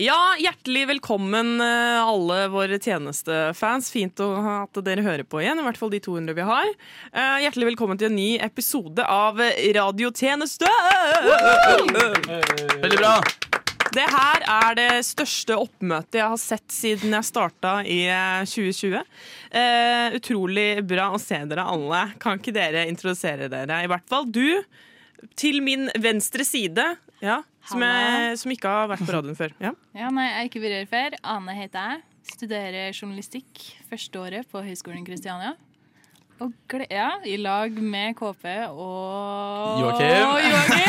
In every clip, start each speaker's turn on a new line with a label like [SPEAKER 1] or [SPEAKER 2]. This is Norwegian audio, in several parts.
[SPEAKER 1] Ja, hjertelig velkommen eh, alle våre tjenestefans. Fint å ha at dere hører på igjen, i hvert fall de 200 vi har. Eh, Hjertelig velkommen til en ny episode av Radiotjeneste!
[SPEAKER 2] Veldig bra.
[SPEAKER 1] Det her er det største oppmøtet jeg har sett siden jeg starta i eh, 2020. Eh, utrolig bra å se dere alle. Kan ikke dere introdusere dere? I hvert fall du, til min venstre side, ja, som, jeg, som ikke har vært på radioen før. Ja.
[SPEAKER 3] Ja, nei, jeg er ikke berørt før. Ane heter jeg. Studerer journalistikk førsteåret på Høgskolen i Kristiania. Og gle ja, i lag med KP og
[SPEAKER 2] Joakim.
[SPEAKER 3] Og Joakim.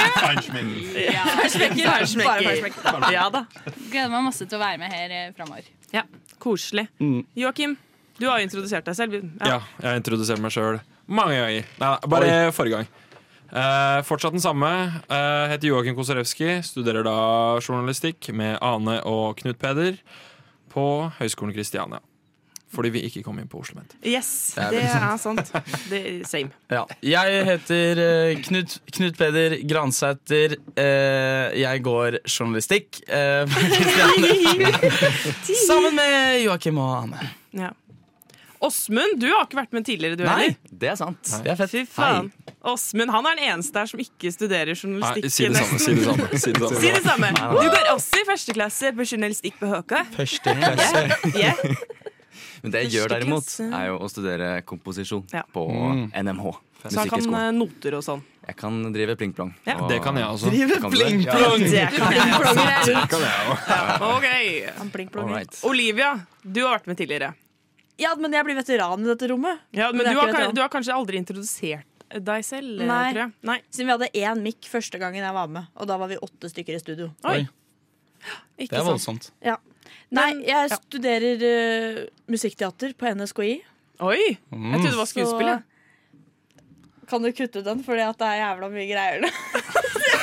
[SPEAKER 3] Ja.
[SPEAKER 1] Feinschmecker. Ja da.
[SPEAKER 3] Gleder meg masse til å være med her eh, framover.
[SPEAKER 1] Ja, Koselig.
[SPEAKER 4] Mm.
[SPEAKER 1] Joakim, du har jo introdusert deg selv.
[SPEAKER 2] Ja, jeg introduserer meg sjøl mange ganger. Nei, nei, bare forrige gang. Eh, fortsatt den samme. Eh, heter Joakim Kosarewski. Studerer da journalistikk med Ane og Knut Peder på Høgskolen Kristiania. Fordi vi ikke kom inn på Oslo Ment.
[SPEAKER 1] Yes,
[SPEAKER 5] er
[SPEAKER 1] det er sant. Det, same.
[SPEAKER 5] Ja. Jeg heter eh, Knut, Knut Peder Gransæter. Eh, jeg går journalistikk eh, på Kristiania. Sammen med Joakim og Anne.
[SPEAKER 1] Ja. Åsmund, du har ikke vært med tidligere, du
[SPEAKER 5] Nei,
[SPEAKER 1] heller.
[SPEAKER 5] det er sant. Det er fett.
[SPEAKER 1] Fy faen. Åsmund han er den eneste her som ikke studerer
[SPEAKER 2] Nei,
[SPEAKER 1] journalistikk.
[SPEAKER 2] si det samme.
[SPEAKER 1] nesten.
[SPEAKER 2] Si det samme. Si det
[SPEAKER 1] Si det
[SPEAKER 2] samme.
[SPEAKER 1] samme. Du går også i første klasse på journalistikk på HK.
[SPEAKER 5] Første klasse.
[SPEAKER 1] Yeah.
[SPEAKER 6] Men det jeg gjør
[SPEAKER 1] Første
[SPEAKER 6] derimot,
[SPEAKER 1] klasse.
[SPEAKER 6] er jo å studere komposisjon
[SPEAKER 1] Ja.
[SPEAKER 6] på
[SPEAKER 5] Mm.
[SPEAKER 6] NMH.
[SPEAKER 1] Så han kan
[SPEAKER 6] Musikkhøgskolen.
[SPEAKER 1] eh, noter og sånn.
[SPEAKER 6] Jeg kan drive pling-plong.
[SPEAKER 1] Ja.
[SPEAKER 6] og-
[SPEAKER 2] Det kan jeg også.
[SPEAKER 5] Driver
[SPEAKER 6] Kan du det?
[SPEAKER 5] pling-plong!
[SPEAKER 1] Det kan jeg.
[SPEAKER 2] Det kan jeg også.
[SPEAKER 1] OK.
[SPEAKER 6] Alright.
[SPEAKER 1] Olivia, du har vært med tidligere.
[SPEAKER 4] Ja, men jeg blir veteran i dette rommet.
[SPEAKER 1] Ja, men
[SPEAKER 4] Men det er
[SPEAKER 1] du har,
[SPEAKER 4] ikke
[SPEAKER 1] kan-
[SPEAKER 4] veteran.
[SPEAKER 1] du har kanskje aldri introdusert deg selv? eh,
[SPEAKER 4] Nei.
[SPEAKER 1] Tror jeg. Nei.
[SPEAKER 4] Siden vi hadde én mikk første gangen jeg var med, og da var vi åtte stykker i studio.
[SPEAKER 1] Oi.
[SPEAKER 5] Oi.
[SPEAKER 1] Ikke
[SPEAKER 5] Det er
[SPEAKER 1] sant.
[SPEAKER 5] voldsomt.
[SPEAKER 4] Nei,
[SPEAKER 1] Men-
[SPEAKER 4] jeg studerer eh, musikkteater på NSKI.
[SPEAKER 1] Oi!
[SPEAKER 5] Mm.
[SPEAKER 1] Jeg trodde det var
[SPEAKER 4] så-
[SPEAKER 1] skuespill. jeg.
[SPEAKER 4] Kan du kutte den, fordi at det er jævla mye greier nå?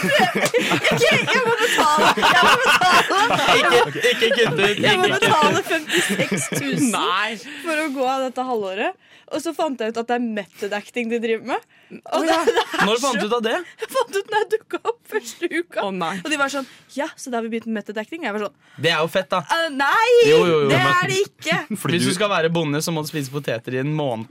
[SPEAKER 4] Ok, jeg må betale! Jeg må betale,
[SPEAKER 5] Ikke kutt ut!
[SPEAKER 4] jeg må betale 56 000
[SPEAKER 1] Nei!
[SPEAKER 4] for å gå av dette halvåret. Og så fant jeg ut at det er method acting de driver med. Og det, det
[SPEAKER 5] Når fant du ut av det?
[SPEAKER 4] jeg fant ut når jeg dukka opp første uka.
[SPEAKER 1] Å nei.
[SPEAKER 4] Og de var sånn Ja, så da har vi begynt med method acting? Jeg var sånn
[SPEAKER 5] Det er jo fett, da.
[SPEAKER 4] «Eh, Nei!
[SPEAKER 5] Jo, jo, jo,
[SPEAKER 4] det
[SPEAKER 5] men-
[SPEAKER 4] er det ikke!
[SPEAKER 2] Fordi
[SPEAKER 5] Hvis
[SPEAKER 2] du
[SPEAKER 5] du skal være bonde, så må du spise poteter i en måned.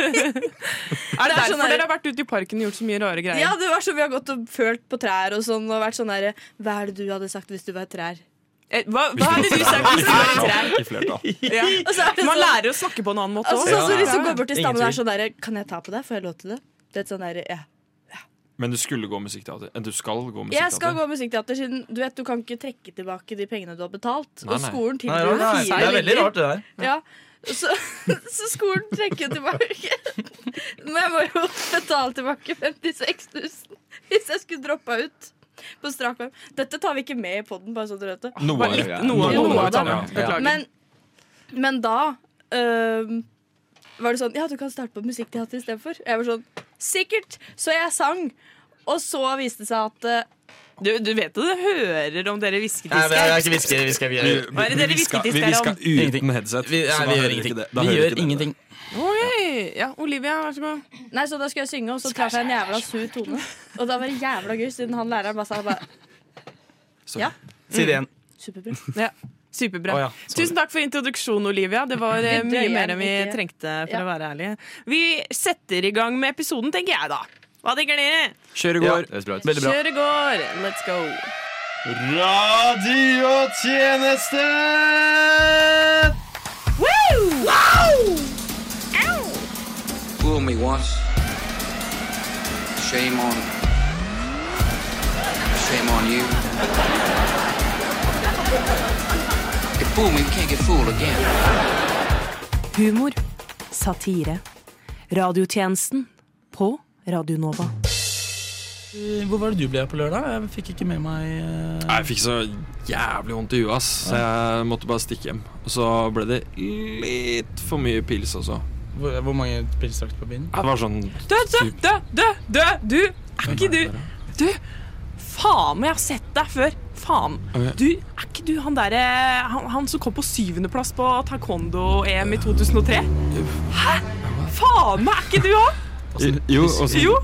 [SPEAKER 1] Er det
[SPEAKER 4] Det er
[SPEAKER 1] derfor
[SPEAKER 4] sånn der-
[SPEAKER 1] dere har vært ute i parken og gjort så mye rare greier?
[SPEAKER 4] Ja, det var sånn Vi har gått og følt på trær og sånn og vært sånn derre Hva er det du hadde sagt hvis du var et trær?
[SPEAKER 1] Eh, Hva, hva hadde du sagt hvis du var et trær?
[SPEAKER 2] i flertall.
[SPEAKER 1] Ja.
[SPEAKER 4] Og så er det
[SPEAKER 1] Man
[SPEAKER 4] sånn,
[SPEAKER 1] lærer å snakke på en annen måte
[SPEAKER 4] altså,
[SPEAKER 1] også.
[SPEAKER 4] sånn
[SPEAKER 1] Ja.
[SPEAKER 4] som de som går bort til
[SPEAKER 5] Ingen
[SPEAKER 4] stammen og er
[SPEAKER 5] tvil.
[SPEAKER 4] sånn derre Kan jeg ta på deg? Får jeg lov til det? Det er sånn derre ja.
[SPEAKER 2] Men du skulle gå musikkteater. Eh, Du skal gå musikkteater.
[SPEAKER 4] Jeg skal gå musikkteater siden du vet du kan ikke trekke tilbake de pengene du har betalt.
[SPEAKER 2] Nei,
[SPEAKER 4] Og
[SPEAKER 2] nei.
[SPEAKER 4] skolen
[SPEAKER 5] Nei, det
[SPEAKER 4] tilbyr
[SPEAKER 5] er-
[SPEAKER 4] fire
[SPEAKER 5] det er veldig
[SPEAKER 4] linjer.
[SPEAKER 5] rart, det der.
[SPEAKER 4] Ja. Så, så skolen trekker jo tilbake. Men jeg må jo betale tilbake 56 000 hvis jeg skulle droppa ut på strak arm. Dette tar vi ikke med i poden, bare så dere vet det.
[SPEAKER 2] Noe
[SPEAKER 1] Bare
[SPEAKER 2] av det.
[SPEAKER 1] litt, noe,
[SPEAKER 4] Noe
[SPEAKER 1] noe
[SPEAKER 4] av det.
[SPEAKER 1] av det. Beklager.
[SPEAKER 4] Men, men da øhm, var det sånn Ja, du kan starte på musikkteater istedenfor. Jeg var sånn Sikkert! Så jeg sang. Og så viste det seg at eh,
[SPEAKER 1] du, du vet jo det hører om dere hvisker
[SPEAKER 5] Nei,
[SPEAKER 1] til
[SPEAKER 5] men jeg- jeg er ikke hvisker, hvisker, vi gjør-
[SPEAKER 1] Hva er det dere
[SPEAKER 2] hviska-
[SPEAKER 1] hvisker i
[SPEAKER 2] vi hviska
[SPEAKER 1] stedet
[SPEAKER 2] uten headset.
[SPEAKER 5] Vi,
[SPEAKER 2] så da
[SPEAKER 5] nei,
[SPEAKER 2] hører
[SPEAKER 5] vi
[SPEAKER 2] ikke
[SPEAKER 5] gjør ingenting.
[SPEAKER 2] det. Da
[SPEAKER 5] Vi
[SPEAKER 2] hører
[SPEAKER 5] gjør
[SPEAKER 2] ikke det.
[SPEAKER 5] ingenting.
[SPEAKER 1] Oi. Ja, Olivia, vær så god.
[SPEAKER 4] Nei, så da skulle jeg synge, og så traff jeg en jævla sur tone. Og da var det jævla gøy, siden han læreren bare sa bare
[SPEAKER 2] Sorry.
[SPEAKER 4] Ja.
[SPEAKER 5] Si det igjen.
[SPEAKER 4] Superbra.
[SPEAKER 1] Ja. Superbra.
[SPEAKER 5] Å ja, sorry.
[SPEAKER 1] Tusen takk for introduksjonen, Olivia. Det var eh,
[SPEAKER 4] Vi
[SPEAKER 1] mye
[SPEAKER 4] drøyer
[SPEAKER 1] mer enn vi
[SPEAKER 4] ikke.
[SPEAKER 1] trengte. for
[SPEAKER 4] Ja.
[SPEAKER 1] å være ærlige. Vi setter i gang med episoden, tenker jeg da. Hva tenker dere?
[SPEAKER 2] Kjør i
[SPEAKER 6] Ja,
[SPEAKER 2] går.
[SPEAKER 6] det høres bra ut.
[SPEAKER 5] Veldig bra.
[SPEAKER 1] Kjør i går! Let's go.
[SPEAKER 5] Radiotjeneste!
[SPEAKER 7] Fool me once. Shame on. Shame on you. Get fooled me, can't get fooled again.
[SPEAKER 8] Humor, satire, radiotjenesten på Radio Nova.
[SPEAKER 5] Eh, Hvor var det du ble på lørdag? Jeg fikk ikke med meg eh,
[SPEAKER 2] Nei, Jeg fikk så jævlig vondt i huet, ass. Så jeg måtte bare stikke hjem. Og så ble det litt for mye pils også.
[SPEAKER 5] hvor, mange pils drakk du på byen?
[SPEAKER 2] Det var sånn
[SPEAKER 1] Dø, dø, dø, dø, dø, du! Er ikke du Du! Faen, jeg har sett deg før. Faen.
[SPEAKER 2] Ok.
[SPEAKER 1] Du, er ikke du han derre han, han som kom på syvendeplass på taekwondo-EM i 2003? Hæ? Faen meg, er ikke du han?
[SPEAKER 2] Jo, og så
[SPEAKER 1] Jo!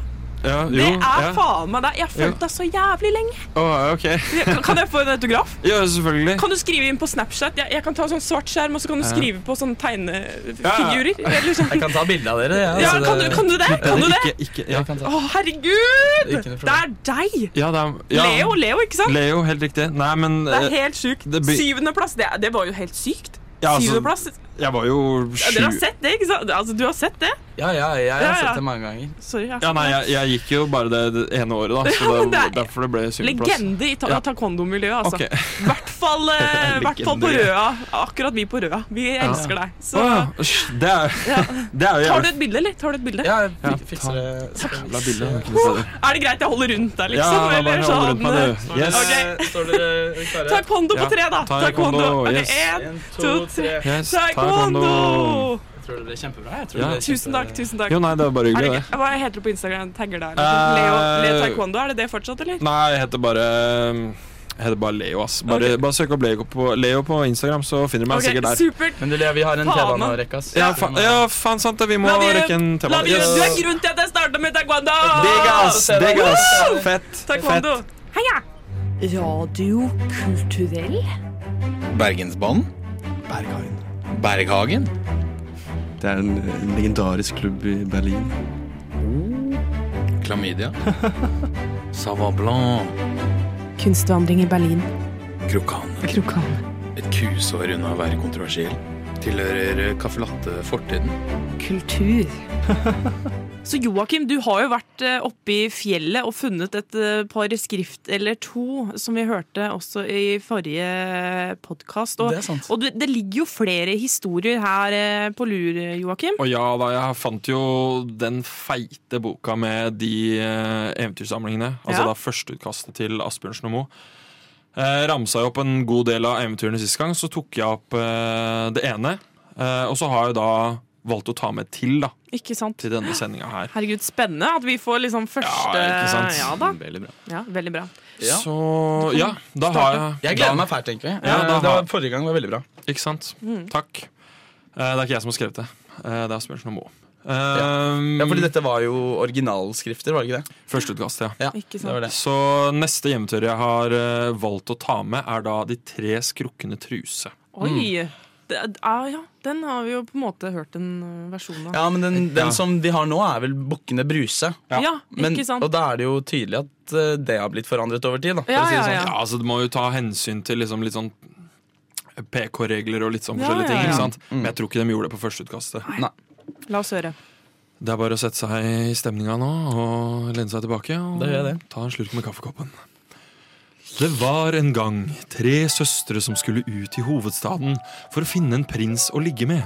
[SPEAKER 2] Ja, jo,
[SPEAKER 1] Det er
[SPEAKER 2] ja.
[SPEAKER 1] faen meg deg. Jeg har fulgt deg så jævlig lenge.
[SPEAKER 2] Å, ok.
[SPEAKER 1] Kan- Kan jeg få en autograf?
[SPEAKER 2] Ja, selvfølgelig.
[SPEAKER 1] Kan du skrive inn på Snapchat? Jeg, jeg kan ta sånn svart skjerm, og så kan du skrive på sånne tegnefigurer.
[SPEAKER 2] Ja,
[SPEAKER 1] Eller sånn.
[SPEAKER 5] Jeg kan ta bilde av dere.
[SPEAKER 1] Ja,
[SPEAKER 5] altså,
[SPEAKER 1] kan du, kan du det? Kan du det?
[SPEAKER 2] Ikke, ikke, ja.
[SPEAKER 5] Jeg kan ta.
[SPEAKER 1] Å, herregud!
[SPEAKER 5] Ikke noe
[SPEAKER 1] Det er deg!
[SPEAKER 2] Ja, det er, ja.
[SPEAKER 1] Leo, Leo, ikke sant?
[SPEAKER 2] Leo, helt riktig. Nei, men
[SPEAKER 1] Det er
[SPEAKER 2] eh,
[SPEAKER 1] helt sjukt.
[SPEAKER 2] det blir-
[SPEAKER 1] Syvendeplass, det, er- det var jo helt sykt.
[SPEAKER 2] Ja, altså,
[SPEAKER 1] Syvendeplass.
[SPEAKER 2] jeg var jo
[SPEAKER 1] Ja, dere har
[SPEAKER 2] sju
[SPEAKER 1] sett det, ikke sant? Altså, du har sett det?
[SPEAKER 5] Ja, ja, jeg
[SPEAKER 1] Ja,
[SPEAKER 5] har
[SPEAKER 1] ja.
[SPEAKER 5] sett det mange ganger.
[SPEAKER 1] Sorry. Jeg er
[SPEAKER 2] Ja,
[SPEAKER 1] så-
[SPEAKER 2] nei, jeg, jeg gikk jo bare det, det ene året, da. Så
[SPEAKER 1] Ja, men
[SPEAKER 2] det,
[SPEAKER 1] det er-
[SPEAKER 2] derfor det ble syvendeplass.
[SPEAKER 1] Legende i ta
[SPEAKER 2] Ja.
[SPEAKER 1] taekwondo-miljøet, altså.
[SPEAKER 2] Ok.
[SPEAKER 1] I hvert fall, eh, hvert fall på
[SPEAKER 2] Legende.
[SPEAKER 1] Røa. Akkurat vi på Røa. Vi elsker deg. Så
[SPEAKER 2] Å, ja. Sj, Det er, det er jo
[SPEAKER 1] tar du
[SPEAKER 2] jævlig
[SPEAKER 1] et bilde, eller? Tar du et bilde?
[SPEAKER 5] Ja, jeg
[SPEAKER 2] Ja,
[SPEAKER 5] fik- fikser
[SPEAKER 2] ta-
[SPEAKER 5] det.
[SPEAKER 2] jævla bilde.
[SPEAKER 1] Er det greit jeg holder rundt deg,
[SPEAKER 2] Ja,
[SPEAKER 1] liksom?
[SPEAKER 2] da
[SPEAKER 1] eller
[SPEAKER 2] bare holder rundt meg,
[SPEAKER 1] sånn,
[SPEAKER 2] du.
[SPEAKER 1] eh,
[SPEAKER 2] Yes.
[SPEAKER 1] ok.
[SPEAKER 5] Står dere klare?
[SPEAKER 1] Taekwondo på
[SPEAKER 2] Ja,
[SPEAKER 1] tre, da.
[SPEAKER 2] taekwondo,
[SPEAKER 1] Taekwondo. Ok,
[SPEAKER 2] yes.
[SPEAKER 1] en,
[SPEAKER 5] En,
[SPEAKER 1] to,
[SPEAKER 5] to,
[SPEAKER 1] tre.
[SPEAKER 5] tre.
[SPEAKER 2] Yes,
[SPEAKER 1] Taekwondo!
[SPEAKER 5] Jeg tror det blir kjempebra. Jeg tror
[SPEAKER 2] Ja.
[SPEAKER 5] det blir
[SPEAKER 1] Tusen takk, tusen takk.
[SPEAKER 2] Jo, nei, det var bare
[SPEAKER 1] Er det,
[SPEAKER 2] hyggelig, det.
[SPEAKER 1] ikke- hva heter du på Instagram? Tagger deg? Liksom. Leo, Leo
[SPEAKER 2] Eh,
[SPEAKER 1] Taekwondo, er det det fortsatt, eller?
[SPEAKER 2] Nei, jeg heter bare jeg heter bare Leo, ass. Bare,
[SPEAKER 1] Ok.
[SPEAKER 2] bare søk opp Leo på, Leo på Instagram, så finner du meg
[SPEAKER 1] Ok,
[SPEAKER 2] sikkert der.
[SPEAKER 1] supert.
[SPEAKER 5] Men du, Lea, vi har en
[SPEAKER 1] Faen,
[SPEAKER 5] T-bane å
[SPEAKER 1] mann.
[SPEAKER 5] rekke, ass.
[SPEAKER 2] Ja, faen, ja, faen sant det. Vi må
[SPEAKER 1] La vi-
[SPEAKER 2] rekke en
[SPEAKER 1] La
[SPEAKER 2] T-bane.
[SPEAKER 1] meg gjøre- Du er
[SPEAKER 2] Yes.
[SPEAKER 1] grunnen til at jeg starta med taekwondo!
[SPEAKER 2] Digg, ass!
[SPEAKER 5] Se deg.
[SPEAKER 2] Digg, ass! Fett.
[SPEAKER 1] Taekwondo.
[SPEAKER 2] Fett.
[SPEAKER 1] Heia!
[SPEAKER 8] Radio kulturell.
[SPEAKER 9] Bergensbanen. Berghagen. Berghagen.
[SPEAKER 6] Det er en, en legendarisk klubb i Berlin.
[SPEAKER 9] Klamydia. Sava Blanc.
[SPEAKER 8] Kunstvandring i Berlin.
[SPEAKER 9] Krokan.
[SPEAKER 8] Krokan.
[SPEAKER 9] Et kusår unna å være kontroversiell. Tilhører caffè latte-fortiden.
[SPEAKER 8] Kultur.
[SPEAKER 1] Så Joakim, du har jo vært eh, oppe i fjellet og funnet et eh, par skrift eller to, som vi hørte også i forrige podkast. Og,
[SPEAKER 5] Det er sant.
[SPEAKER 1] og du, det ligger jo flere historier her eh, på lur, eh, Joakim.
[SPEAKER 2] Og ja da, jeg fant jo den feite boka med de eh, eventyrsamlingene. Altså
[SPEAKER 1] Ja.
[SPEAKER 2] da førsteutkastet til Asbjørnsen og Moe. Eh, ramsa jeg opp en god del av eventyrene sist gang, så tok jeg opp eh, det ene. Eh, og så har jeg da valgt å ta med til da,
[SPEAKER 1] Ikke sant?
[SPEAKER 2] til denne sendinga her.
[SPEAKER 1] Herregud, spennende at vi får liksom første
[SPEAKER 2] Ja, ikke sant?
[SPEAKER 1] Ja da.
[SPEAKER 6] Veldig bra.
[SPEAKER 1] Ja, veldig bra.
[SPEAKER 5] Ja.
[SPEAKER 2] Så ja, da har jeg
[SPEAKER 5] Jeg gleder meg fælt, egentlig.
[SPEAKER 2] Ja, da
[SPEAKER 5] Eh, det
[SPEAKER 2] har-
[SPEAKER 5] var, Mm. forrige gang var veldig bra.
[SPEAKER 2] Ikke sant? Takk. Eh, det er ikke jeg som har skrevet det. Eh, det er Asbjørnsen og Moe. Uh,
[SPEAKER 5] Ja, fordi dette var jo originalskrifter, var det ikke det?
[SPEAKER 2] Førsteutkast, ja.
[SPEAKER 5] Ja,
[SPEAKER 1] Ikke sant.
[SPEAKER 5] det var det.
[SPEAKER 2] Så neste hjemmetur jeg har eh, valgt å ta med, er da De tre skrukkende truse.
[SPEAKER 1] Oi!
[SPEAKER 5] Mm.
[SPEAKER 1] Det, ja, ja, den har vi jo på en måte hørt en eh, versjon av.
[SPEAKER 5] Ja, men den, den
[SPEAKER 2] Ja.
[SPEAKER 5] som de har nå, er vel Bukkene Bruse.
[SPEAKER 1] Ja,
[SPEAKER 5] Men,
[SPEAKER 1] ikke sant?
[SPEAKER 5] og da er det jo tydelig at eh, det har blitt forandret over tid. Da, for
[SPEAKER 1] Ja,
[SPEAKER 5] å si det
[SPEAKER 1] ja,
[SPEAKER 5] sånn.
[SPEAKER 2] Ja, altså Du må jo ta hensyn til liksom litt sånn PK-regler og litt sånn
[SPEAKER 1] Ja, ja,
[SPEAKER 2] forskjellige ting.
[SPEAKER 1] ja.
[SPEAKER 2] ikke sant? Men jeg tror ikke de gjorde det på førsteutkastet.
[SPEAKER 1] La oss høre.
[SPEAKER 2] Det er bare å sette seg i stemninga nå og lene seg tilbake og
[SPEAKER 5] Da gjør jeg
[SPEAKER 2] ta en slurk med kaffekoppen. Det var en gang tre søstre som skulle ut i hovedstaden for å finne en prins å ligge med.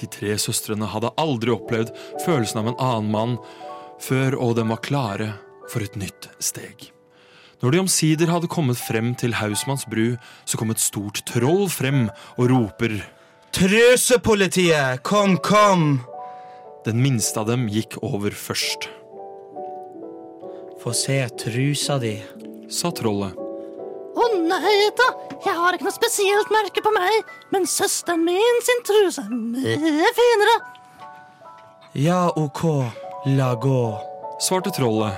[SPEAKER 2] De tre søstrene hadde aldri opplevd følelsen av en annen mann før, og de var klare for et nytt steg. Når de omsider hadde kommet frem til Hausmanns bru, så kom et stort troll frem og roper
[SPEAKER 10] Trøsepolitiet, kom, kom!
[SPEAKER 2] Den minste av dem gikk over først.
[SPEAKER 10] Få se trusa di.
[SPEAKER 2] Sa trollet.
[SPEAKER 11] Å nei da, jeg har ikke noe spesielt merke på meg, men søsteren min sin truse er mye finere.
[SPEAKER 10] Ja, ok, la gå.
[SPEAKER 2] Svarte trollet.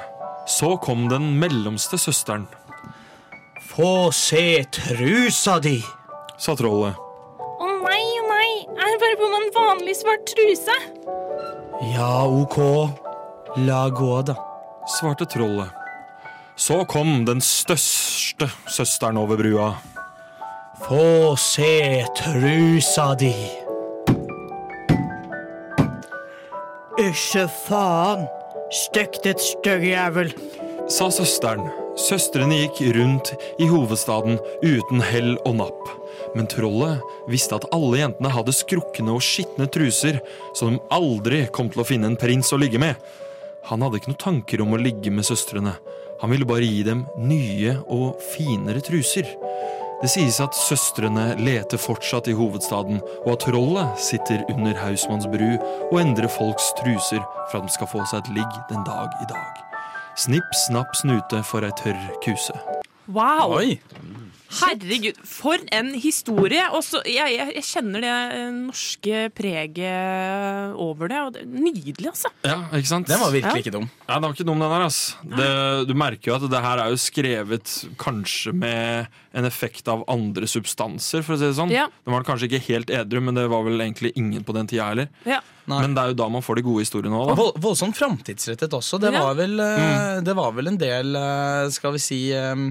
[SPEAKER 2] Så kom den mellomste søsteren.
[SPEAKER 10] Få se trusa di!
[SPEAKER 2] Sa trollet.
[SPEAKER 3] Å nei, å nei. Jeg er bare på meg en vanlig svart truse.
[SPEAKER 10] Ja, ok, la gå, da.
[SPEAKER 2] Svarte trollet. Så kom den største søsteren over brua.
[SPEAKER 10] Få se trusa di! Ikke faen! Støkk ditt stygge jævel!
[SPEAKER 2] Sa søsteren. Søstrene gikk rundt i hovedstaden uten hell og napp. Men trollet visste at alle jentene hadde skrukne og skitne truser, så de aldri kom til å finne en prins å ligge med. Han hadde ikke noen tanker om å ligge med søstrene. Han ville bare gi dem nye og finere truser. Det sies at søstrene leter fortsatt i hovedstaden, og at trollet sitter under Hausmanns bru og endrer folks truser for at de skal få seg et ligg den dag i dag. Snipp, snapp, snute for ei tørr kuse.
[SPEAKER 1] Wow!
[SPEAKER 5] Oi!
[SPEAKER 1] Herregud, for en historie! Og så- jeg, jeg, jeg kjenner det eh, norske preget over det. Og det er nydelig, altså.
[SPEAKER 2] Ja, ikke sant?
[SPEAKER 1] Den var virkelig ikke
[SPEAKER 5] dum.
[SPEAKER 2] Ja, den var ikke dum, den her. ass. Det, du merker jo at det her er jo skrevet kanskje med en effekt av andre substanser, for å si det sånn.
[SPEAKER 1] Ja.
[SPEAKER 2] Den var kanskje ikke helt edru, men det var vel egentlig ingen på den tida heller.
[SPEAKER 1] Ja.
[SPEAKER 2] Men det er jo da man får de gode historiene òg, da.
[SPEAKER 5] Vold, voldsomt framtidsrettet også. Det
[SPEAKER 2] Ja.
[SPEAKER 5] var, vel, eh, det var vel en del, eh, skal vi si, eh,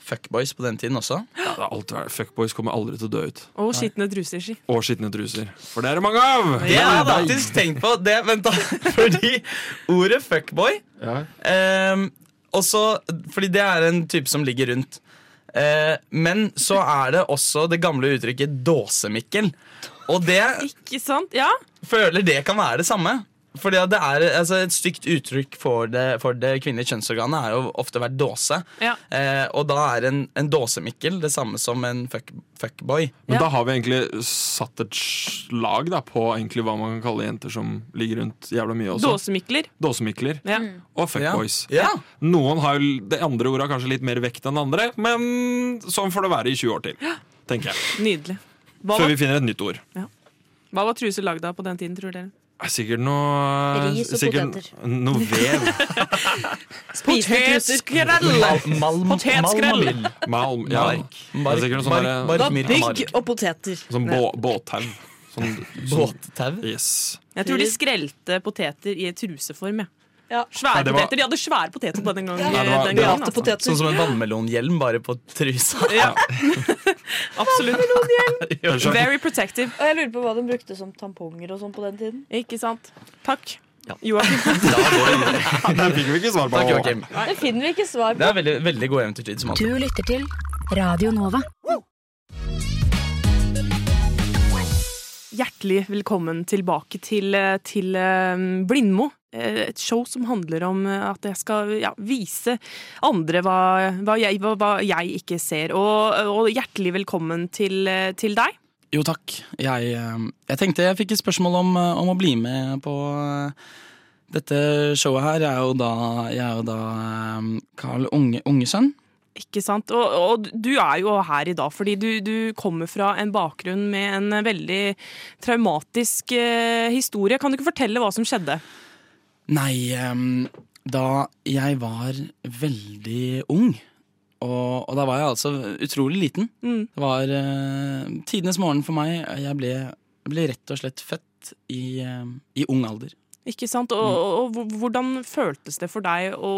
[SPEAKER 5] fuckboys på den tiden også.
[SPEAKER 2] Ja, det har alltid vært Fuckboys kommer aldri til å dø ut.
[SPEAKER 1] Og skitne truser. si.
[SPEAKER 2] Og skitne truser. For det er det mange av!
[SPEAKER 5] Ja, jeg har faktisk tenkt på det, vent da. Fordi ordet fuckboy ehm, også, Fordi det er en type som ligger rundt. Eh, men så er det også det gamle uttrykket dåsemikkel. Og det
[SPEAKER 1] Ikke sant? Ja.
[SPEAKER 5] føler det kan være det samme. Fordi at det er altså, Et stygt uttrykk for det, for det kvinnelige kjønnsorganet er jo ofte vært dåse.
[SPEAKER 1] Ja.
[SPEAKER 5] Eh, og da er en, en dåsemikkel det samme som en fuck, fuckboy.
[SPEAKER 2] Men da har vi egentlig satt et slag da, på egentlig hva man kan kalle jenter som ligger rundt jævla mye også.
[SPEAKER 1] Dåsemikler.
[SPEAKER 2] Dåsemikler.
[SPEAKER 1] Ja.
[SPEAKER 2] Og fuckboys.
[SPEAKER 5] Ja.
[SPEAKER 2] Noen har jo det andre ordet har kanskje litt mer vekt enn det andre, men sånn får det være i 20 år til. Tenker jeg.
[SPEAKER 1] Nydelig. Hva
[SPEAKER 2] Før
[SPEAKER 1] var,
[SPEAKER 2] vi finner et nytt ord.
[SPEAKER 1] hva var truser lagd av på den tiden, tror dere?
[SPEAKER 2] Er Sikkert noe
[SPEAKER 1] Ris og
[SPEAKER 2] sikkert
[SPEAKER 1] poteter.
[SPEAKER 2] Noe vev.
[SPEAKER 1] Potetskrell! Potetskrell!
[SPEAKER 2] Malm. Ja. Det er sikkert noe sånn derre-
[SPEAKER 10] Det var Bygg og poteter.
[SPEAKER 2] Sånn bå, båttau. Sånn,
[SPEAKER 5] båttau?
[SPEAKER 2] Yes.
[SPEAKER 1] Jeg tror de skrelte poteter i truseform. Ja.
[SPEAKER 5] Nei,
[SPEAKER 1] Svære
[SPEAKER 5] det var-
[SPEAKER 1] poteter. De hadde svære poteter på den gangen.
[SPEAKER 5] Nei, det var-
[SPEAKER 1] den
[SPEAKER 5] det var-
[SPEAKER 1] gangen, altså.
[SPEAKER 5] Sånn som en vannmelonhjelm, bare på trusa.
[SPEAKER 1] Ja. Absolutt.
[SPEAKER 5] Unnskyld.
[SPEAKER 1] Very protective.
[SPEAKER 4] Og jeg lurer på hva de brukte som tamponger og sånn på den tiden.
[SPEAKER 1] Ikke sant. Takk. Joakim.
[SPEAKER 2] Den fikk vi ikke svar på.
[SPEAKER 5] Takk, Joakim.
[SPEAKER 4] Det finner vi ikke svar
[SPEAKER 5] Det
[SPEAKER 4] på.
[SPEAKER 5] er veldig, veldig god eventyrtid som
[SPEAKER 8] Du
[SPEAKER 5] alltid.
[SPEAKER 8] lytter til Radio Nova.
[SPEAKER 1] Hjertelig velkommen tilbake til, eh, til eh, Blindmo. Eh, Et show som handler om eh, at jeg skal ja, vise andre hva, hva, jeg, hva, hva jeg ikke ser. Og, og hjertelig velkommen til, eh, til deg.
[SPEAKER 5] Jo, takk. Jeg, eh, jeg tenkte jeg fikk et spørsmål om, eh, om å bli med på eh, dette showet her. Jeg er jo da, jeg er jo da eh, Carl Unge, Ungesønn.
[SPEAKER 1] Ikke sant? Og, og du er jo her i dag fordi du, du kommer fra en bakgrunn med en veldig traumatisk eh, historie. Kan du ikke fortelle hva som skjedde?
[SPEAKER 5] Nei, ehm, da jeg var veldig ung, og, og da var jeg altså utrolig liten
[SPEAKER 1] Mm.
[SPEAKER 5] Det var eh, tidenes morgen for meg. Jeg ble, jeg ble rett og slett født i, eh, i ung alder.
[SPEAKER 1] Ikke sant? Og, og, og hvordan føltes det for deg å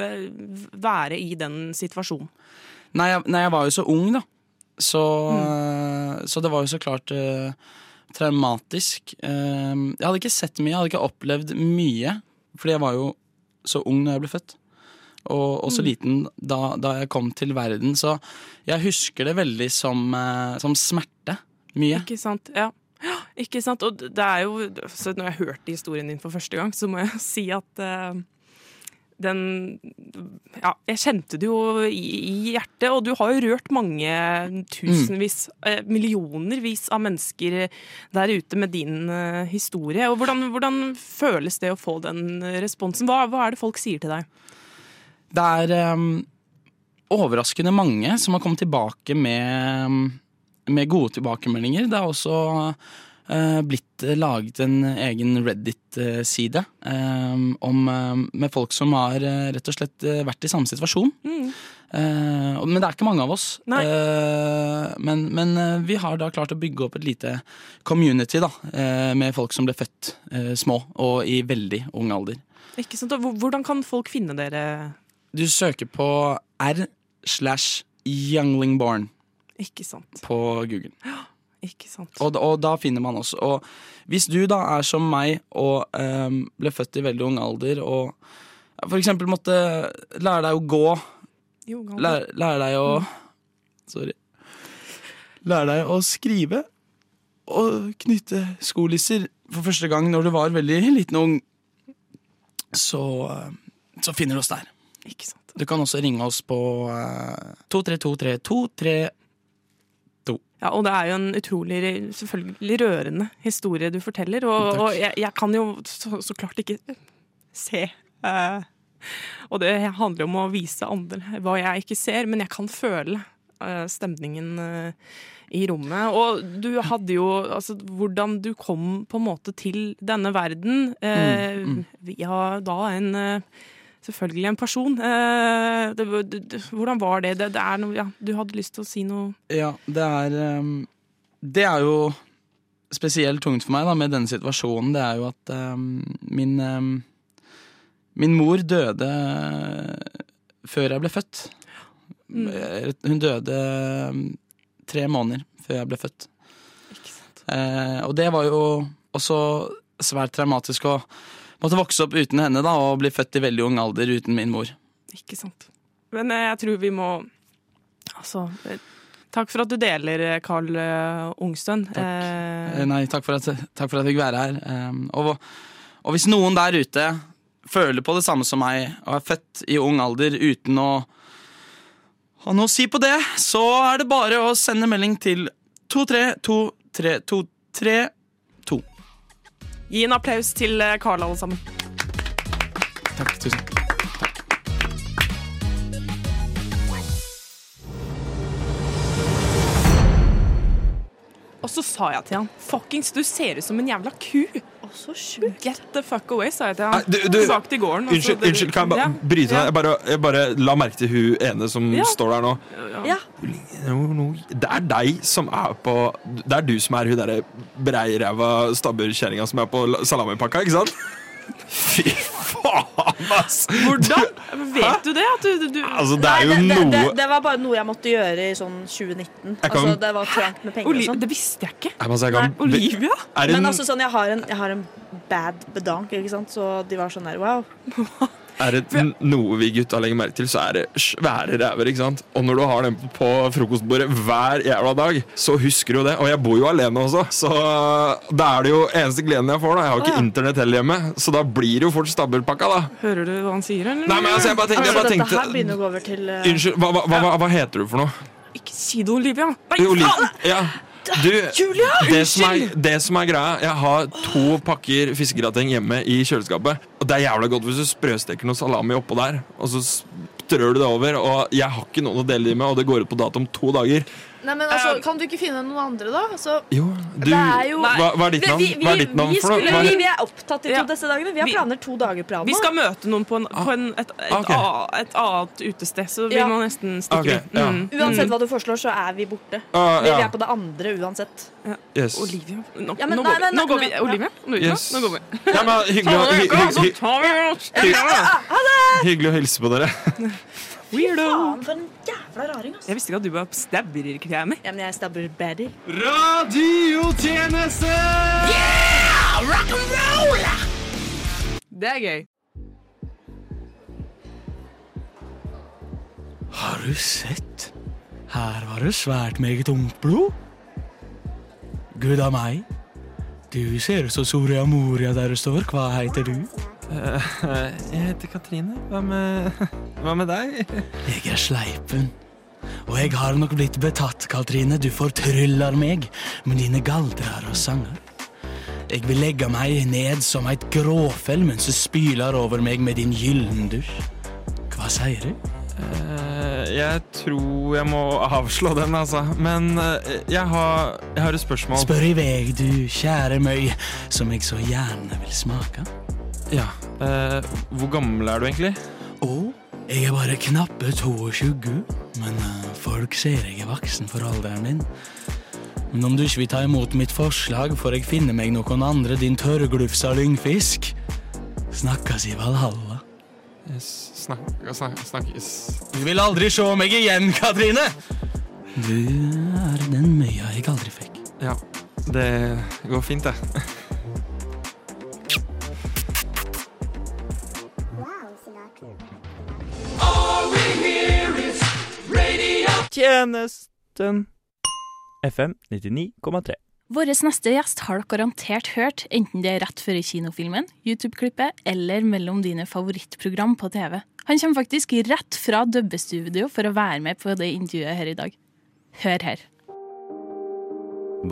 [SPEAKER 1] eh, være i den situasjonen?
[SPEAKER 5] Nei jeg, nei, jeg var jo så ung, da. Så, eh, så det var jo så klart eh, traumatisk. Eh, jeg hadde ikke sett mye, jeg hadde ikke opplevd mye. Fordi jeg var jo så ung da jeg ble født. Og, og så
[SPEAKER 12] Mm.
[SPEAKER 5] liten da, da jeg kom til verden. Så jeg husker det veldig som, eh, som smerte. Mye.
[SPEAKER 1] Ikke sant? Ja. Ikke sant? Og det er jo så Når jeg hørte historien din for første gang, så må jeg si at eh, den Ja, jeg kjente det jo i, i hjertet, og du har jo rørt mange tusenvis, eh, millionervis av mennesker der ute med din eh, historie. Og hvordan, hvordan føles det å få den responsen? Hva, hva er det folk sier til deg?
[SPEAKER 5] Det er ehm, overraskende mange som har kommet tilbake med, ehm, med gode tilbakemeldinger. Det er også eh, blitt laget en egen Reddit-side ehm, om, ehm, med folk som har eh, rett og slett eh, vært i samme situasjon. Eh, og- men det er ikke mange av oss. Eh, men men eh, vi har da klart å bygge opp et lite community da, eh, med folk som ble født eh, små og i veldig ung alder.
[SPEAKER 1] Ikke sant? Og hvor- Hvordan kan folk finne dere?
[SPEAKER 5] Du søker på R slash younglingborn
[SPEAKER 1] Ikke sant?
[SPEAKER 5] på Google.
[SPEAKER 1] Ikke sant?
[SPEAKER 5] Og, og da finner man oss. Og hvis du da er som meg og ehm, ble født i veldig ung alder og for eksempel måtte lære deg å gå,
[SPEAKER 1] Jo, Galvan.
[SPEAKER 5] lære, lære deg å Sorry. Lære deg å skrive og knytte skolisser for første gang når du var veldig liten og ung, så, ehm, så finner du oss der.
[SPEAKER 1] Ikke sant.
[SPEAKER 5] Du kan også ringe oss på eh, 232323
[SPEAKER 1] Ja, og det er jo en utrolig selvfølgelig rørende historie du forteller, og, og jeg, jeg kan jo så, så klart ikke se. eh, og det handler jo om å vise andre hva jeg ikke ser, men jeg kan føle eh, stemningen eh, i rommet. Og du hadde jo altså, hvordan du kom på en måte til denne verden. Eh,
[SPEAKER 12] Mm,
[SPEAKER 1] Ja, da en eh, Selvfølgelig en person. Eh, det, det, det, hvordan var det? det, det er noe, ja, du hadde lyst til å si noe
[SPEAKER 5] Ja, det er ehm, Det er jo spesielt tungt for meg da, med denne situasjonen. Det er jo at ehm, min ehm, Min mor døde eh, før jeg ble født. Hun døde ehm, tre måneder før jeg ble født. Eh, og det var jo også svært traumatisk å måtte vokse opp uten henne da, og bli født i veldig ung alder uten min mor.
[SPEAKER 1] Ikke sant. Men eh, jeg tror vi må Altså eh, Takk for at du deler, eh, Karl eh, Ungstøn.
[SPEAKER 5] Eh, Nei, takk for, at, takk for at jeg fikk være her. Ehm, og, og hvis noen der ute føler på det samme som meg, og er født i ung alder uten å ha noe å si på det, så er det bare å sende melding til 232322.
[SPEAKER 1] Eh, gi en applaus til eh, Karl, alle sammen.
[SPEAKER 5] Takk, tusen takk.
[SPEAKER 1] Og så sa jeg til han Fuckings, du ser ut som en jævla ku! Get the fuck away, sa jeg til han.
[SPEAKER 2] Nei, du- du-
[SPEAKER 1] Tilbake til gården. altså, og så-
[SPEAKER 2] Unnskyld, unnskyld, kan jeg bare bryte deg? Jeg bare, jeg bare la merke til hun ene som
[SPEAKER 1] Ja.
[SPEAKER 2] står der nå.
[SPEAKER 1] Ja.
[SPEAKER 4] Ja.
[SPEAKER 2] No, no. Det er deg som er på Det er du som er hun derre breiræva stabburkjerringa som er på la- salamipakka, ikke sant? Fy faen, ass!
[SPEAKER 1] Hvordan? Vet du det? At du, du, du
[SPEAKER 2] Altså, det er jo
[SPEAKER 4] Nei, det, det,
[SPEAKER 2] noe
[SPEAKER 4] det var bare noe jeg måtte gjøre i sånn 2019.
[SPEAKER 2] Jeg kan-
[SPEAKER 4] Altså, det var trangt med penger og
[SPEAKER 1] Oli-
[SPEAKER 4] sånn.
[SPEAKER 1] Det visste jeg ikke.
[SPEAKER 2] Nei, liksom. men altså, jeg kan- Er det,
[SPEAKER 4] Men altså, sånn, jeg har en, jeg har en bad bedank, ikke sant? så de var sånn der wow.
[SPEAKER 2] er det n- noe vi gutta legger merke til, så er det svære ræver. ikke sant? Og når du har den på frokostbordet hver jævla dag, så husker du det. Og jeg bor jo alene også, så da er det jo eneste gleden jeg får. da. Jeg har
[SPEAKER 1] Å,
[SPEAKER 2] ikke
[SPEAKER 1] ja.
[SPEAKER 2] internett heller hjemme, så da blir det jo fort stabburpakka, da.
[SPEAKER 1] Hører du hva han sier, eller?
[SPEAKER 2] Nei, men altså, jeg bare tenkte, jeg bare
[SPEAKER 4] altså, Dette her
[SPEAKER 2] tenkte
[SPEAKER 4] begynner å gå over til eh,
[SPEAKER 2] Unnskyld, hva, hva, hva, hva heter du for noe?
[SPEAKER 1] Ikke si det, Olivia! Nei,
[SPEAKER 2] Oli-
[SPEAKER 1] faen!
[SPEAKER 2] ja. Du,
[SPEAKER 1] Julia!
[SPEAKER 2] det som, er,
[SPEAKER 1] Unnskyld!
[SPEAKER 2] det som er greia, jeg har to pakker fiskegrateng hjemme i kjøleskapet. Og det er jævla godt hvis du sprøsteker noe salami oppå der, og så strør du det over. Og jeg har ikke noen å dele de med, og det går ut på dato om to dager.
[SPEAKER 4] Nei, men altså, Kan du ikke finne noen andre, da? Altså,
[SPEAKER 2] Jo, du,
[SPEAKER 4] det er jo
[SPEAKER 2] hva, hva er ditt
[SPEAKER 4] Vi-
[SPEAKER 2] navn?
[SPEAKER 4] Vi, vi,
[SPEAKER 2] Hva er ditt navn
[SPEAKER 4] vi,
[SPEAKER 2] for noe?
[SPEAKER 4] skulle,
[SPEAKER 2] Hva
[SPEAKER 4] vi,
[SPEAKER 2] er,
[SPEAKER 4] vi er opptatt i to disse dagene. Vi har
[SPEAKER 1] Vi-
[SPEAKER 4] planer to dager på
[SPEAKER 1] Vi
[SPEAKER 4] Rana.
[SPEAKER 1] skal møte noen på, en, på en, et, et,
[SPEAKER 2] Ah. Ok.
[SPEAKER 1] a- et annet utested, så vi
[SPEAKER 4] Ja.
[SPEAKER 1] må nesten stikke Mm.
[SPEAKER 2] Ok,
[SPEAKER 1] ut.
[SPEAKER 2] ja.
[SPEAKER 4] Uansett hva du foreslår, så er vi borte.
[SPEAKER 2] Ah,
[SPEAKER 4] Vi-
[SPEAKER 2] Mm. ja.
[SPEAKER 4] Vi er på det andre uansett.
[SPEAKER 2] yes.
[SPEAKER 1] Mm. Olivia, nå,
[SPEAKER 4] Ja, men
[SPEAKER 1] nå,
[SPEAKER 4] nei,
[SPEAKER 1] går vi.
[SPEAKER 4] men-
[SPEAKER 1] nå går vi.
[SPEAKER 4] ja.
[SPEAKER 1] Olivia, nå, ut nå.
[SPEAKER 2] Yes.
[SPEAKER 1] nå går vi.
[SPEAKER 2] Ja, men hyggelig, å- hy, hy, hy, hyggelig å hilse på dere.
[SPEAKER 1] Weirdo.
[SPEAKER 4] Faen, for en jævla raring, altså. ass.
[SPEAKER 1] Jeg visste ikke at du var stabberkremi.
[SPEAKER 4] Ja, men jeg stabber baddy.
[SPEAKER 10] Radiotjeneste! Yeah! Rock'n'roll!
[SPEAKER 1] Det er gøy.
[SPEAKER 13] Har du sett? Her var det svært meget ungt blod. Gud a meg. Du ser ut som Soria Moria der du står. Hva heter du?
[SPEAKER 14] Jeg heter Katrine. Hva med, hva med deg?
[SPEAKER 13] Jeg er Sleipen. Og jeg har nok blitt betatt, Katrine. Du fortryller meg med dine galdrar og sanger. Jeg vil legge meg ned som et gråfell mens du spyler over meg med din gyllendusj. Hva sier du?
[SPEAKER 14] Eh, Jeg tror jeg må avslå den, altså. Men eh, jeg har, jeg har et spørsmål.
[SPEAKER 13] Spør i vei, du kjære møy, som jeg så gjerne vil smake.
[SPEAKER 14] Ja. eh, Hvor gammel er du egentlig?
[SPEAKER 13] Og jeg er bare knappe 22, men eh, folk ser jeg er voksen for alderen min. Men om du ikke vil ta imot mitt forslag, får jeg finne meg noen andre, din tørrglufsa lyngfisk. Snakkes i Valhalla.
[SPEAKER 14] Snak, snak, snakkes
[SPEAKER 13] Du vil aldri se meg igjen, Katrine! Du er den møya jeg aldri fikk.
[SPEAKER 14] Ja, det går fint, det.
[SPEAKER 15] Tjenesten. FM 99,3.
[SPEAKER 3] Vår neste gjest har dere garantert hørt, enten det er rett før i kinofilmen, YouTube-klippet eller mellom dine favorittprogram på TV. Han kommer faktisk rett fra dubbestudio for å være med på det intervjuet her i dag. Hør her.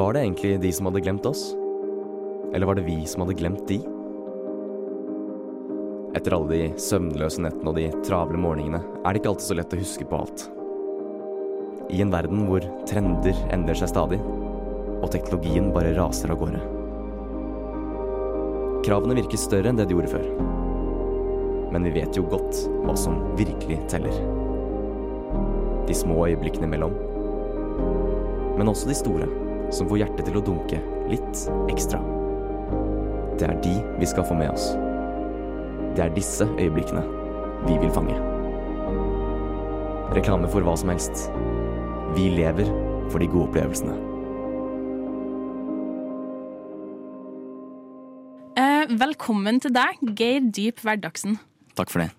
[SPEAKER 16] Var det egentlig de som hadde glemt oss? Eller var det vi som hadde glemt de? Etter alle de søvnløse nettene og de travle morgenene er det ikke alltid så lett å huske på alt. I en verden hvor trender endrer seg stadig, og teknologien bare raser av gårde. Kravene virker større enn det de gjorde før. Men vi vet jo godt hva som virkelig teller. De små øyeblikkene imellom. Men også de store, som får hjertet til å dunke litt ekstra. Det er de vi skal få med oss. Det er disse øyeblikkene vi vil fange. Reklame for hva som helst. Vi lever for de gode opplevelsene.
[SPEAKER 3] Eh, velkommen til deg, Geir Dyp Hverdagsen.
[SPEAKER 16] Takk for det.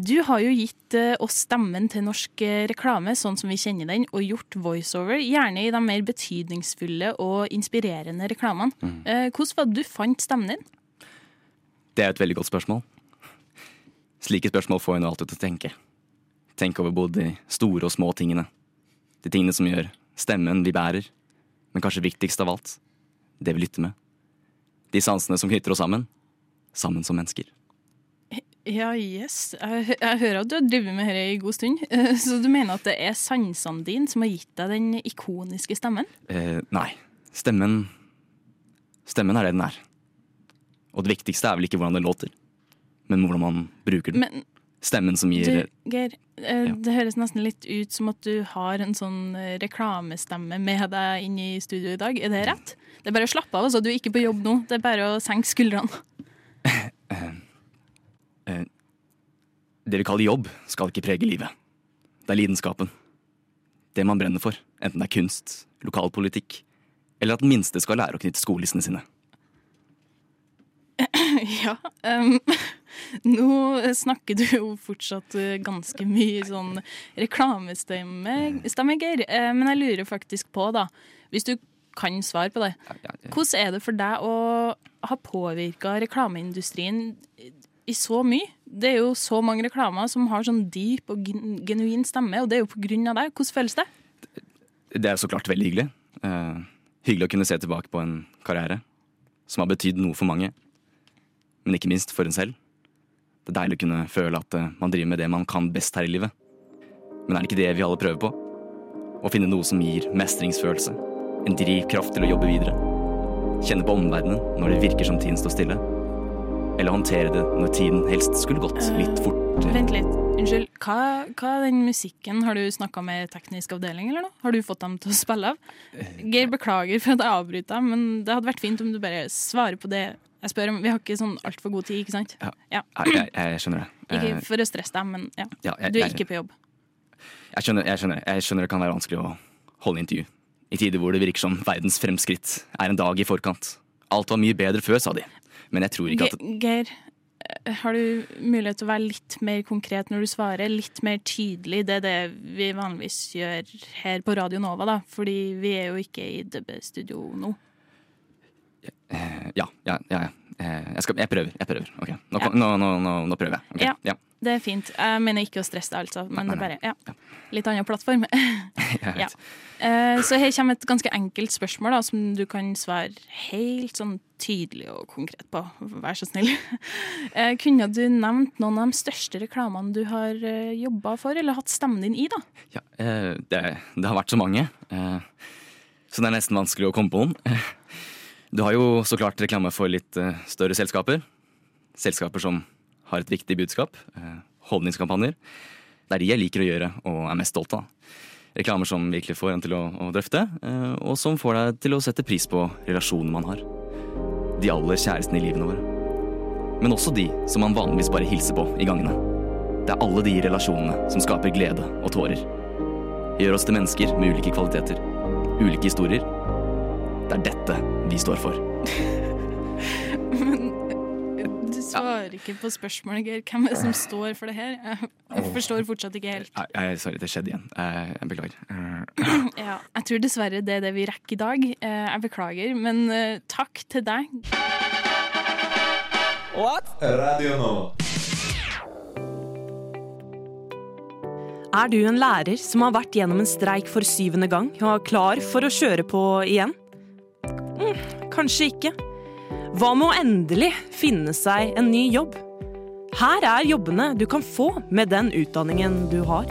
[SPEAKER 3] Du har jo gitt eh, oss stemmen til norsk eh, reklame sånn som vi kjenner den, og gjort voiceover, gjerne i de mer betydningsfulle og inspirerende reklamene.
[SPEAKER 16] Mm.
[SPEAKER 3] Eh, hvordan var det du fant stemmen din?
[SPEAKER 16] Det er et veldig godt spørsmål. Slike spørsmål får en jo alltid til å tenke. Tenk over både de store og små tingene. De tingene som gjør stemmen vi bærer, men kanskje viktigst av alt, det vi lytter med. De sansene som knytter oss sammen, sammen som mennesker.
[SPEAKER 3] Ja, yes. Jeg, jeg hører at du har drevet med dette i god stund, eh, så du mener at det er sansene dine som har gitt deg den ikoniske stemmen?
[SPEAKER 16] Eh, nei. Stemmen Stemmen er det den er. Og det viktigste er vel ikke hvordan det låter, men hvordan man bruker den.
[SPEAKER 3] Men
[SPEAKER 16] Stemmen som gir
[SPEAKER 3] du, Geir, eh, det høres nesten litt ut som at du har en sånn eh, reklamestemme med deg inn i studio i dag. Er det rett? Det er bare å slappe av, altså. Du er ikke på jobb nå. Det er bare å senke skuldrene.
[SPEAKER 16] eh, Det vi kaller jobb, skal ikke prege livet. Det er lidenskapen. Det man brenner for, enten det er kunst, lokalpolitikk, eller at den minste skal lære å knytte skolissene sine.
[SPEAKER 3] ja. em, nå snakker du jo fortsatt eh, ganske mye sånn reklamestemme, stemme, Geir. Eh, men jeg lurer faktisk på, da, hvis du kan svare på det, hvordan er det for deg å ha påvirka reklameindustrien i så mye? Det er jo så mange reklamer som har sånn dyp og gen- genuin stemme, og det er jo på grunn av deg. Hvordan føles det?
[SPEAKER 16] Det er jo så klart veldig hyggelig. Eh, hyggelig å kunne se tilbake på en karriere som har betydd noe for mange. Men ikke minst for en selv. Det er deilig å kunne føle at eh, man driver med det man kan best her i livet. Men er det ikke det vi alle prøver på? Å finne noe som gir mestringsfølelse. En drivkraft til å jobbe videre. Kjenne på omverdenen når det virker som tiden står stille. Eller håndtere det når tiden helst skulle gått litt fortere.
[SPEAKER 3] Vent litt. Unnskyld, hva, hva er den musikken? Har du snakka med teknisk avdeling, eller noe? Har du fått dem til å spille av? Geir, beklager for at jeg avbryter, deg, men det hadde vært fint om du bare svarer på det jeg spør om. Vi har ikke sånn altfor god tid, ikke sant? Ja.
[SPEAKER 16] Nei, jeg, jeg skjønner det. Eh,
[SPEAKER 3] Ikke for å stresse deg, men ja.
[SPEAKER 16] Ja, jeg-
[SPEAKER 3] Du er
[SPEAKER 16] jeg-
[SPEAKER 3] ikke på jobb.
[SPEAKER 16] Jeg skjønner, jeg, skjønner, jeg skjønner det kan være vanskelig å holde intervju. I tider hvor det virker som verdens fremskritt er en dag i forkant. Alt var mye bedre før, sa de. Men jeg tror ikke at
[SPEAKER 3] Ge- Geir, eh, har du mulighet til å være litt mer konkret når du svarer? Litt mer tydelig? Det er det vi vanligvis gjør her på Radio Nova, da. Fordi vi er jo ikke i dubbestudio nå.
[SPEAKER 16] eh, Ja, ja, ja. ja. Eh, Jeg, skal, jeg prøver. jeg prøver. Ok, Nå, kom- nå, nå, nå, nå prøver jeg. Ok,
[SPEAKER 3] Ja.
[SPEAKER 16] ja.
[SPEAKER 3] Det er fint. Jeg mener ikke å stresse deg, altså. Men det
[SPEAKER 16] Nei,
[SPEAKER 3] er
[SPEAKER 16] nei,
[SPEAKER 3] bare ja. litt annen plattform.
[SPEAKER 16] Jeg
[SPEAKER 3] ja.
[SPEAKER 16] vet.
[SPEAKER 3] Eh, Så her kommer et ganske enkelt spørsmål da, som du kan svare helt sånn tydelig og konkret på. Vær så snill. Eh, Kunne du nevnt noen av de største reklamene du har jobba for, eller hatt stemmen din i, da?
[SPEAKER 16] Eh, Det, det har vært så mange, eh, så det er nesten vanskelig å komme på noen. Du har jo så klart reklame for litt eh, større selskaper. Selskaper som har et viktig budskap. eh, Holdningskampanjer. Det er de jeg liker å gjøre og er mest stolt av. Reklamer som virkelig får en til å, å drøfte, eh, og som får deg til å sette pris på relasjonene man har. De aller kjæreste i livene våre. Men også de som man vanligvis bare hilser på i gangene. Det er alle de relasjonene som skaper glede og tårer gjør oss til mennesker med ulike kvaliteter, ulike historier. Det er dette vi står for.
[SPEAKER 3] Men du svarer ikke på spørsmålet, Geir. Hvem er det som står for det her? Jeg forstår fortsatt ikke helt.
[SPEAKER 16] Nei, nei, sorry, det skjedde igjen. Eh, Jeg beklager. Eh,
[SPEAKER 3] Ja, jeg tror dessverre det er det vi rekker i dag. Eh, Jeg beklager, men eh, takk til deg.
[SPEAKER 12] Radio Nova.
[SPEAKER 17] Er du en lærer som har vært gjennom en streik for syvende gang og er klar for å kjøre på igjen? Mm, kanskje ikke. Hva med å endelig finne seg en ny jobb? Her er jobbene du kan få med den utdanningen du har.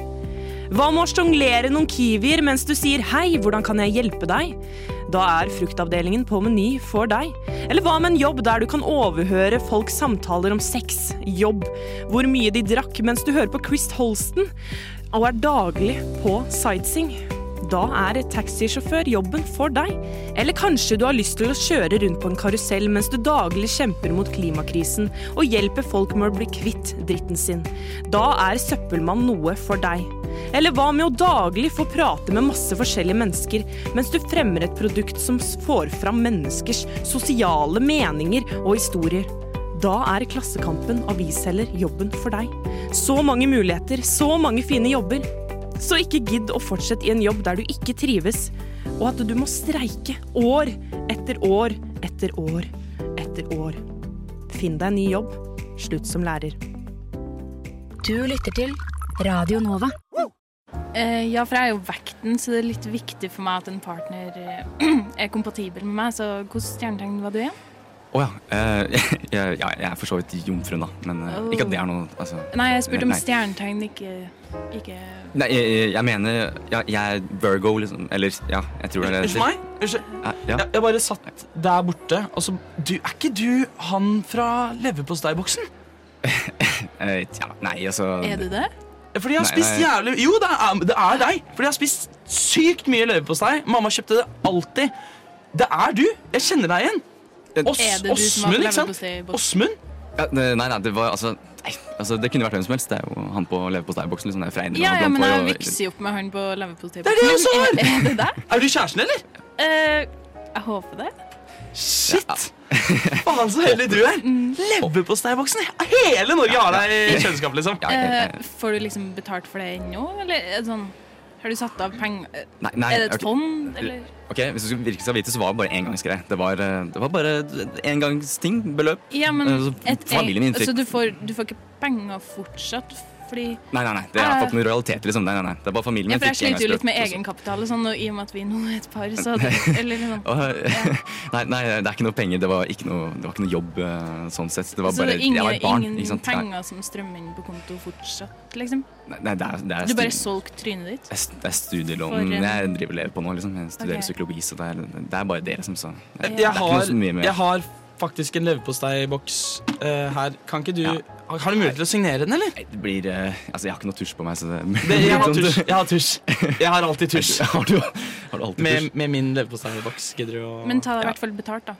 [SPEAKER 1] Hva med å sjonglere noen kiwier mens du sier 'hei, hvordan kan jeg hjelpe deg'? Da er fruktavdelingen på Meny for deg. Eller hva med en jobb der du kan overhøre folks samtaler om sex, jobb, hvor mye de drakk mens du hører på Chris Holsten, og er daglig på sightseeing? Da er taxisjåfør jobben for deg. Eller kanskje du har lyst til å kjøre rundt på en karusell mens du daglig kjemper mot klimakrisen og hjelper folk med å bli kvitt dritten sin. Da er søppelmann noe for deg. Eller hva med å daglig få prate med masse forskjellige mennesker mens du fremmer et produkt som får fram menneskers sosiale meninger og historier? Da er Klassekampen avisselger jobben for deg. Så mange muligheter, så mange fine jobber. Så ikke gidd å fortsette i en jobb der du ikke trives, og at du må streike år etter år etter år etter år. Finn deg en ny jobb. Slutt som lærer.
[SPEAKER 18] Du lytter til Radio Nova.
[SPEAKER 3] Eh, ja, for jeg er jo vekten, så det er litt viktig for meg at en partner eh, er kompatibel med meg. Så hvilket stjernetegn var du igjen?
[SPEAKER 16] Å ja. eh, jeg, ja, jeg er for så vidt jomfruen, da. Men eh,
[SPEAKER 3] Oh.
[SPEAKER 16] ikke at det er noe altså,
[SPEAKER 3] Nei, jeg spurte om
[SPEAKER 16] nei.
[SPEAKER 3] stjernetegn, ikke, ikke
[SPEAKER 16] Nei, jeg, jeg- jeg mener ja, Jeg er Virgo, liksom. Eller ja, jeg tror det er det.
[SPEAKER 5] Unnskyld meg? Unnskyld.
[SPEAKER 16] Ja, ja.
[SPEAKER 5] Jeg bare satt der borte, og så du, Er ikke du han fra leverposteiboksen?
[SPEAKER 16] Eh, tja, nei, altså
[SPEAKER 3] Er du det?
[SPEAKER 5] Fordi jeg har
[SPEAKER 16] Nei,
[SPEAKER 5] spist
[SPEAKER 16] nei.
[SPEAKER 5] jævlig Jo, det er, det er deg! Fordi jeg har spist sykt mye leverpostei. Mamma kjøpte det alltid. Det er du! Jeg kjenner deg igjen. Ås-
[SPEAKER 3] Er det du som har
[SPEAKER 5] Åsmund, ikke sant?
[SPEAKER 3] leverposteiboksen?
[SPEAKER 5] Åsmund?
[SPEAKER 16] eh, Ja, det, nei, nei, det var altså nei, Altså, det kunne vært hvem som helst. Det er jo han på leverposteiboksen. Liksom, det er fra Einar,
[SPEAKER 3] Ja,
[SPEAKER 16] han
[SPEAKER 3] ja,
[SPEAKER 16] blondt
[SPEAKER 3] men
[SPEAKER 16] hår
[SPEAKER 3] jeg
[SPEAKER 16] og-
[SPEAKER 3] vikser jo opp med han på leverposteiboksen.
[SPEAKER 5] Det er det jeg også har!
[SPEAKER 3] Er det deg?
[SPEAKER 5] Er du kjæresten, eller?
[SPEAKER 3] Eh, jeg håper det.
[SPEAKER 5] Shit! Faen, så heldig du er. Leverposteiboksen! Hele Norge har deg i kjøleskapet, liksom.
[SPEAKER 3] Eh, får du liksom betalt for det ennå, eller er det sånn Har du satt av penger eh,
[SPEAKER 16] Nei, nei,
[SPEAKER 3] Er det et
[SPEAKER 16] ok.
[SPEAKER 3] fond, eller
[SPEAKER 16] Ok, Hvis du skulle virkelig skal vite, så var det bare engangsgreie. Det var, eh, det var bare engangsting. Beløp.
[SPEAKER 3] Ja, men
[SPEAKER 16] Eh, så
[SPEAKER 3] et,
[SPEAKER 16] familien min
[SPEAKER 3] Så
[SPEAKER 16] fikk
[SPEAKER 3] du får, du får ikke penger fortsatt, fordi
[SPEAKER 16] Nei, nei, nei, det har
[SPEAKER 3] Eh,
[SPEAKER 16] fått noen royalitet, liksom. Nei, nei, nei, det er bare familien
[SPEAKER 3] ja,
[SPEAKER 16] min
[SPEAKER 3] for jeg
[SPEAKER 16] fikk
[SPEAKER 3] sliter jo litt med
[SPEAKER 16] engangsbeløp,
[SPEAKER 3] egenkapital, og sånn, og i og med at vi nå er et par, så det, eller liksom.
[SPEAKER 16] og så- Åh, nei, nei, det er ikke noe penger. Det var ikke noe, det var ikke noe jobb eh, sånn sett. Det var
[SPEAKER 3] Så
[SPEAKER 16] bare
[SPEAKER 3] det er ingen,
[SPEAKER 16] Jeg var et barn. ikke
[SPEAKER 3] ingen
[SPEAKER 16] sant? Nei,
[SPEAKER 3] penger som strømmer inn på konto fortsatt, liksom?
[SPEAKER 16] nei, nei, det er, det er
[SPEAKER 3] Du bare
[SPEAKER 16] stu-
[SPEAKER 3] solgte trynet ditt?
[SPEAKER 16] det er st- det er studielån
[SPEAKER 3] For en-
[SPEAKER 16] jeg driver og lever på nå. liksom Jeg studerer
[SPEAKER 3] Ok.
[SPEAKER 16] psykologi, så det er, det er bare det, liksom. Så det, det er
[SPEAKER 5] Jeg
[SPEAKER 16] ikke noe
[SPEAKER 5] har,
[SPEAKER 16] så mye med
[SPEAKER 5] jeg har faktisk en leverposteiboks eh, her. Kan ikke du Har har du mulighet til å signere den, eller?
[SPEAKER 16] Det blir eh, Altså, jeg har ikke noe tusj på meg, så det Sånn
[SPEAKER 5] Det, jeg har tusj. Jeg har, tusj. Jeg har alltid tusj.
[SPEAKER 16] Har du, har du alltid
[SPEAKER 5] Med,
[SPEAKER 16] tusj?
[SPEAKER 5] med min leverposteiboks. Gidder du å
[SPEAKER 3] Men ta deg i hvert fall betalt, da.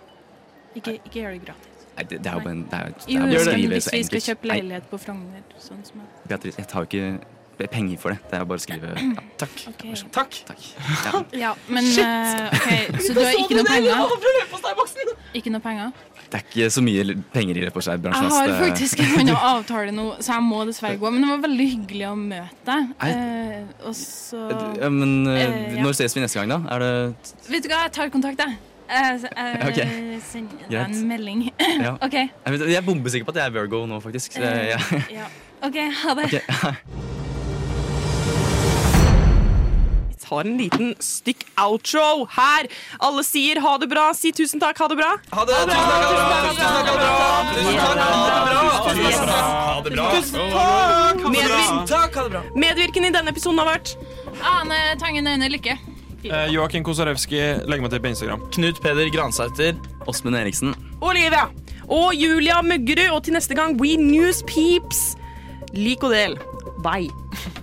[SPEAKER 3] Ikke, ikke gjør det gratis.
[SPEAKER 16] Nei, det, det er jo bare en det er, det
[SPEAKER 3] Jo,
[SPEAKER 16] er
[SPEAKER 3] jo,
[SPEAKER 16] bare å
[SPEAKER 3] men
[SPEAKER 16] skrive
[SPEAKER 3] hvis
[SPEAKER 16] så
[SPEAKER 3] vi skal
[SPEAKER 16] enkelt.
[SPEAKER 3] kjøpe
[SPEAKER 16] Nei,
[SPEAKER 3] leilighet på Frogner, sånn som jeg
[SPEAKER 16] Beatrice, jeg tar jo ikke penger for det. Det er bare å skrive ja, Takk.
[SPEAKER 3] Ok.
[SPEAKER 16] Vær så god.
[SPEAKER 5] Takk.
[SPEAKER 16] Ja.
[SPEAKER 3] Ja, men
[SPEAKER 5] Shit!
[SPEAKER 3] eh, OK, så du
[SPEAKER 5] Da
[SPEAKER 3] har
[SPEAKER 5] så
[SPEAKER 3] ikke
[SPEAKER 5] du
[SPEAKER 3] noe
[SPEAKER 5] det, jeg hadde
[SPEAKER 3] penger? Ikke noe penger?
[SPEAKER 16] Det er ikke så mye penger i det på seg.
[SPEAKER 3] Jeg har
[SPEAKER 16] eh,
[SPEAKER 3] faktisk en annen avtale nå, så jeg må dessverre gå. Men det var veldig hyggelig å møte deg.
[SPEAKER 16] Nei.
[SPEAKER 3] Eh, og så
[SPEAKER 16] ja, Men eh,
[SPEAKER 3] Eh, ja.
[SPEAKER 16] når ses vi neste gang, da? Er det
[SPEAKER 3] Vet du hva, jeg tar kontakt, jeg. Eh, s- eh,
[SPEAKER 16] Ok.
[SPEAKER 3] Send deg
[SPEAKER 16] Greit.
[SPEAKER 3] en melding.
[SPEAKER 16] Ja.
[SPEAKER 3] OK.
[SPEAKER 16] Jeg, vet, jeg er bombesikker på at jeg er Virgo nå, faktisk. Så, jeg- jeg-
[SPEAKER 3] Ja. OK, ha det.
[SPEAKER 16] Ok.
[SPEAKER 19] Vi tar en liten stykk outro her. Alle sier ha det bra. Si tusen takk, ha det bra.
[SPEAKER 5] Ha det bra!
[SPEAKER 19] Ha det bra! Medvirkende.
[SPEAKER 5] Takk, ha det bra.
[SPEAKER 19] Medvirkende i denne episoden har vært
[SPEAKER 3] Ane Tangen Øyne Lykke.
[SPEAKER 2] Eh, Joakim Kosarewski, legg meg til på Instagram.
[SPEAKER 5] Knut Peder Gransæter.
[SPEAKER 16] Åsmund Eriksen.
[SPEAKER 19] Olivia og Julia Muggerud. Og til neste gang, We News Peeps. Lik og del. Bye.